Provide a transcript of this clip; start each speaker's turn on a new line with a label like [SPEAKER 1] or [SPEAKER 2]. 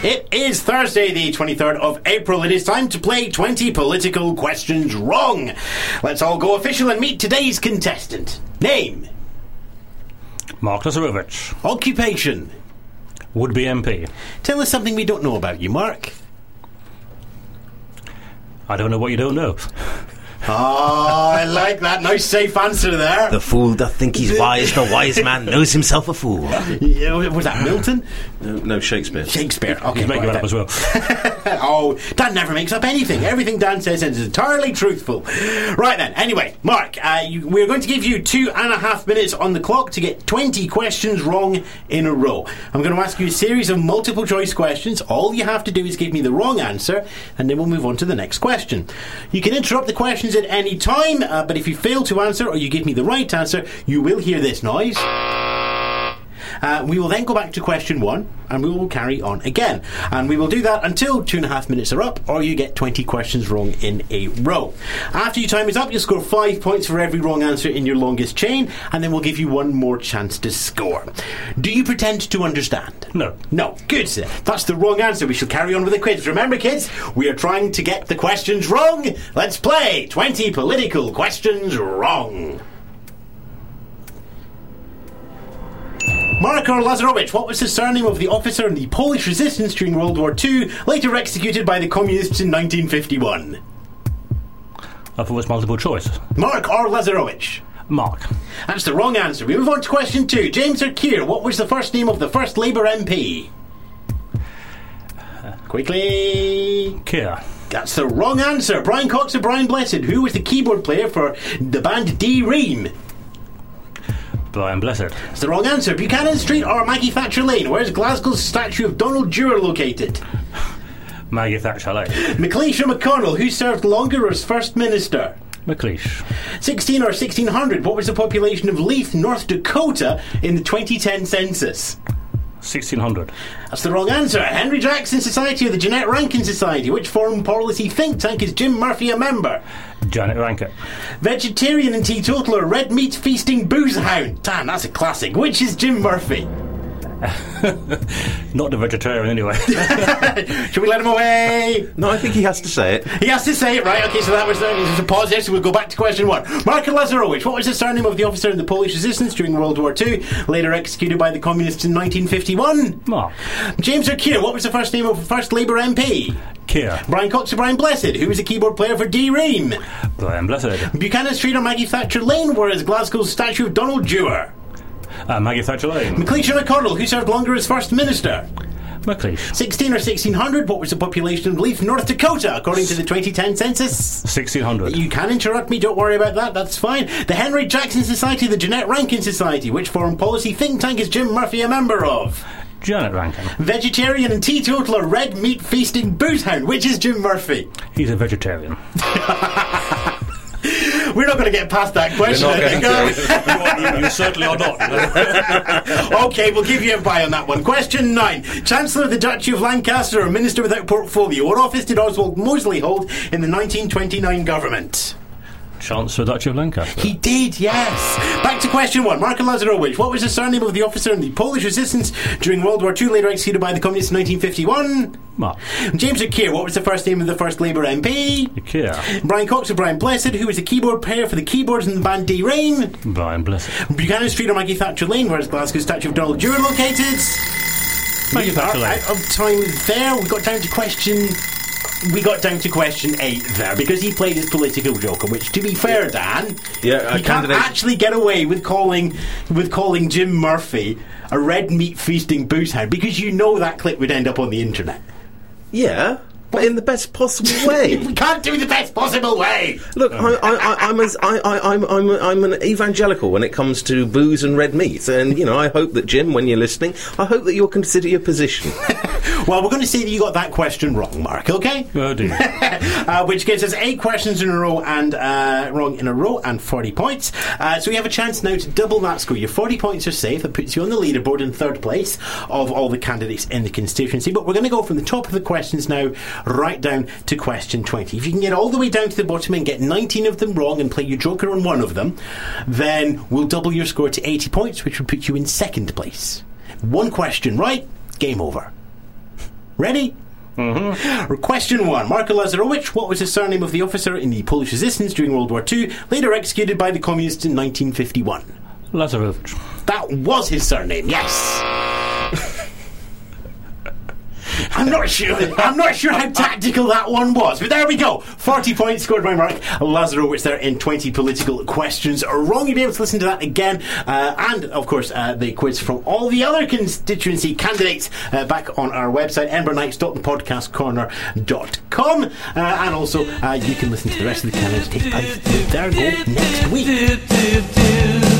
[SPEAKER 1] It is Thursday, the 23rd of April. It is time to play 20 political questions wrong. Let's all go official and meet today's contestant. Name,
[SPEAKER 2] Mark Lazarovich,
[SPEAKER 1] occupation.
[SPEAKER 2] would be MP.
[SPEAKER 1] Tell us something we don't know about you, Mark.
[SPEAKER 2] I don't know what you don't know.
[SPEAKER 1] Oh, I like that. Nice, safe answer there.
[SPEAKER 3] The fool doth think he's wise, the wise man knows himself a fool.
[SPEAKER 1] Yeah, was that Milton?
[SPEAKER 3] No, Shakespeare.
[SPEAKER 1] Shakespeare. Okay,
[SPEAKER 2] He's making
[SPEAKER 1] right
[SPEAKER 2] that up as well.
[SPEAKER 1] oh, Dan never makes up anything. Everything Dan says is entirely truthful. Right then. Anyway, Mark, uh, you, we're going to give you two and a half minutes on the clock to get 20 questions wrong in a row. I'm going to ask you a series of multiple choice questions. All you have to do is give me the wrong answer, and then we'll move on to the next question. You can interrupt the questions at any time, uh, but if you fail to answer or you give me the right answer, you will hear this noise. Uh, we will then go back to question one and we will carry on again. And we will do that until two and a half minutes are up or you get 20 questions wrong in a row. After your time is up, you'll score five points for every wrong answer in your longest chain and then we'll give you one more chance to score. Do you pretend to understand?
[SPEAKER 2] No.
[SPEAKER 1] No. Good, sir. That's the wrong answer. We shall carry on with the quiz. Remember, kids, we are trying to get the questions wrong. Let's play 20 political questions wrong. Marko Lazarowicz, what was the surname of the officer in the Polish resistance during World War II, later executed by the communists in 1951?
[SPEAKER 2] I thought it was multiple choice.
[SPEAKER 1] Mark R. Lazarowicz.
[SPEAKER 2] Mark.
[SPEAKER 1] That's the wrong answer. We move on to question two. James O'Keir, what was the first name of the first Labour MP? Quickly.
[SPEAKER 2] Keir.
[SPEAKER 1] That's the wrong answer. Brian Cox of Brian Blessed, who was the keyboard player for the band D Ream?
[SPEAKER 2] Brian Blessed.
[SPEAKER 1] That's the wrong answer. Buchanan Street or Maggie Thatcher Lane? Where's Glasgow's statue of Donald Dewar located?
[SPEAKER 2] Maggie Thatcher Lane.
[SPEAKER 1] McLeish or McConnell, who served longer as First Minister?
[SPEAKER 2] McLeish.
[SPEAKER 1] 16 or 1600, what was the population of Leith, North Dakota in the 2010 census?
[SPEAKER 2] 1600.
[SPEAKER 1] That's the wrong answer. Henry Jackson Society or the Jeanette Rankin Society? Which foreign policy think tank is Jim Murphy a member?
[SPEAKER 2] Janet Rankin.
[SPEAKER 1] Vegetarian and teetotaler, red meat feasting booze hound. Damn, that's a classic. Which is Jim Murphy?
[SPEAKER 2] Not the vegetarian, anyway.
[SPEAKER 1] Should we let him away?
[SPEAKER 3] No, I think he has to say it.
[SPEAKER 1] He has to say it, right? Okay, so that was there's a pause there, so we'll go back to question one. Marko Lazarowicz, what was the surname of the officer in the Polish resistance during World War II, later executed by the communists in 1951?
[SPEAKER 2] Mark.
[SPEAKER 1] James O'Keir, what was the first name of the first Labour MP?
[SPEAKER 2] Keir.
[SPEAKER 1] Brian Cox or Brian Blessed, who was a keyboard player for D Ream?
[SPEAKER 2] Brian Blessed.
[SPEAKER 1] Buchanan Street or Maggie Thatcher Lane, whereas Glasgow's statue of Donald Dewar?
[SPEAKER 2] Uh, Maggie Thatcher Lane.
[SPEAKER 1] McLeish or McConnell, who served longer as First Minister?
[SPEAKER 2] McLeish.
[SPEAKER 1] 16 or 1600, what was the population of Leaf, North Dakota, according to the 2010 census?
[SPEAKER 2] 1600.
[SPEAKER 1] You can interrupt me, don't worry about that, that's fine. The Henry Jackson Society, the Jeanette Rankin Society, which foreign policy think tank is Jim Murphy a member of?
[SPEAKER 2] Janet Rankin.
[SPEAKER 1] Vegetarian and teetotaler, red meat feasting boot hound, which is Jim Murphy?
[SPEAKER 2] He's a vegetarian.
[SPEAKER 1] We're not going to get past that question,
[SPEAKER 3] We're not
[SPEAKER 1] I think.
[SPEAKER 3] going
[SPEAKER 2] you, are, you certainly are not. you know.
[SPEAKER 1] okay, we'll give you a buy on that one. Question nine. Chancellor of the Duchy of Lancaster or Minister without portfolio, what office did Oswald Mosley hold in the 1929 government?
[SPEAKER 2] Chancellor Duchy of Lancaster.
[SPEAKER 1] He did, yes. Back to question one. Marko Lazarowicz, what was the surname of the officer in the Polish resistance during World War II, later executed by the communists in 1951?
[SPEAKER 2] Mark.
[SPEAKER 1] James O'Keir, what was the first name of the first Labour MP?
[SPEAKER 2] Keir.
[SPEAKER 1] Brian Cox or Brian Blessed, who was the keyboard player for the keyboards in the band D Rain?
[SPEAKER 2] Brian Blessed.
[SPEAKER 1] Buchanan Street or Maggie Thatcher Lane, where is Glasgow's statue of Donald Dewar located?
[SPEAKER 2] Maggie
[SPEAKER 1] We
[SPEAKER 2] Thatcher
[SPEAKER 1] are
[SPEAKER 2] Lane.
[SPEAKER 1] Out of time there. We got down to question. We got down to question eight there because he played his political joker, which, to be fair, Dan,
[SPEAKER 3] Yeah, uh,
[SPEAKER 1] you can't
[SPEAKER 3] candidate-
[SPEAKER 1] actually get away with calling with calling Jim Murphy a red meat feasting booze hound because you know that clip would end up on the internet.
[SPEAKER 3] Yeah, but in the best possible way.
[SPEAKER 1] We can't do the best possible way.
[SPEAKER 3] Look, I, I, I, I'm, as, I, I, I'm, I'm, I'm an evangelical when it comes to booze and red meat, and you know, I hope that Jim, when you're listening, I hope that you'll consider your position.
[SPEAKER 1] Well, we're going to say that you got that question wrong, Mark. Okay.
[SPEAKER 2] Oh dear.
[SPEAKER 1] uh, which gives us eight questions in a row and uh, wrong in a row and 40 points. Uh, so we have a chance now to double that score. Your 40 points are safe. That puts you on the leaderboard in third place of all the candidates in the constituency. But we're going to go from the top of the questions now right down to question 20. If you can get all the way down to the bottom and get 19 of them wrong and play your joker on one of them, then we'll double your score to 80 points, which would put you in second place. One question right, game over. Ready? Mm-hmm. Question one. Marko Lazarowicz, what was his surname of the officer in the Polish resistance during World War II, later executed by the communists in 1951?
[SPEAKER 2] Lazarevich.
[SPEAKER 1] That was his surname, yes. I'm not sure. I'm not sure how tactical that one was, but there we go. Forty points scored by Mark Lazarowicz there in twenty political questions wrong. You'll be able to listen to that again, uh, and of course uh, the quiz from all the other constituency candidates uh, back on our website embernights.thepodcastcorner.com, uh, and also uh, you can listen to the rest of the candidates take part there go next week.
[SPEAKER 4] do do do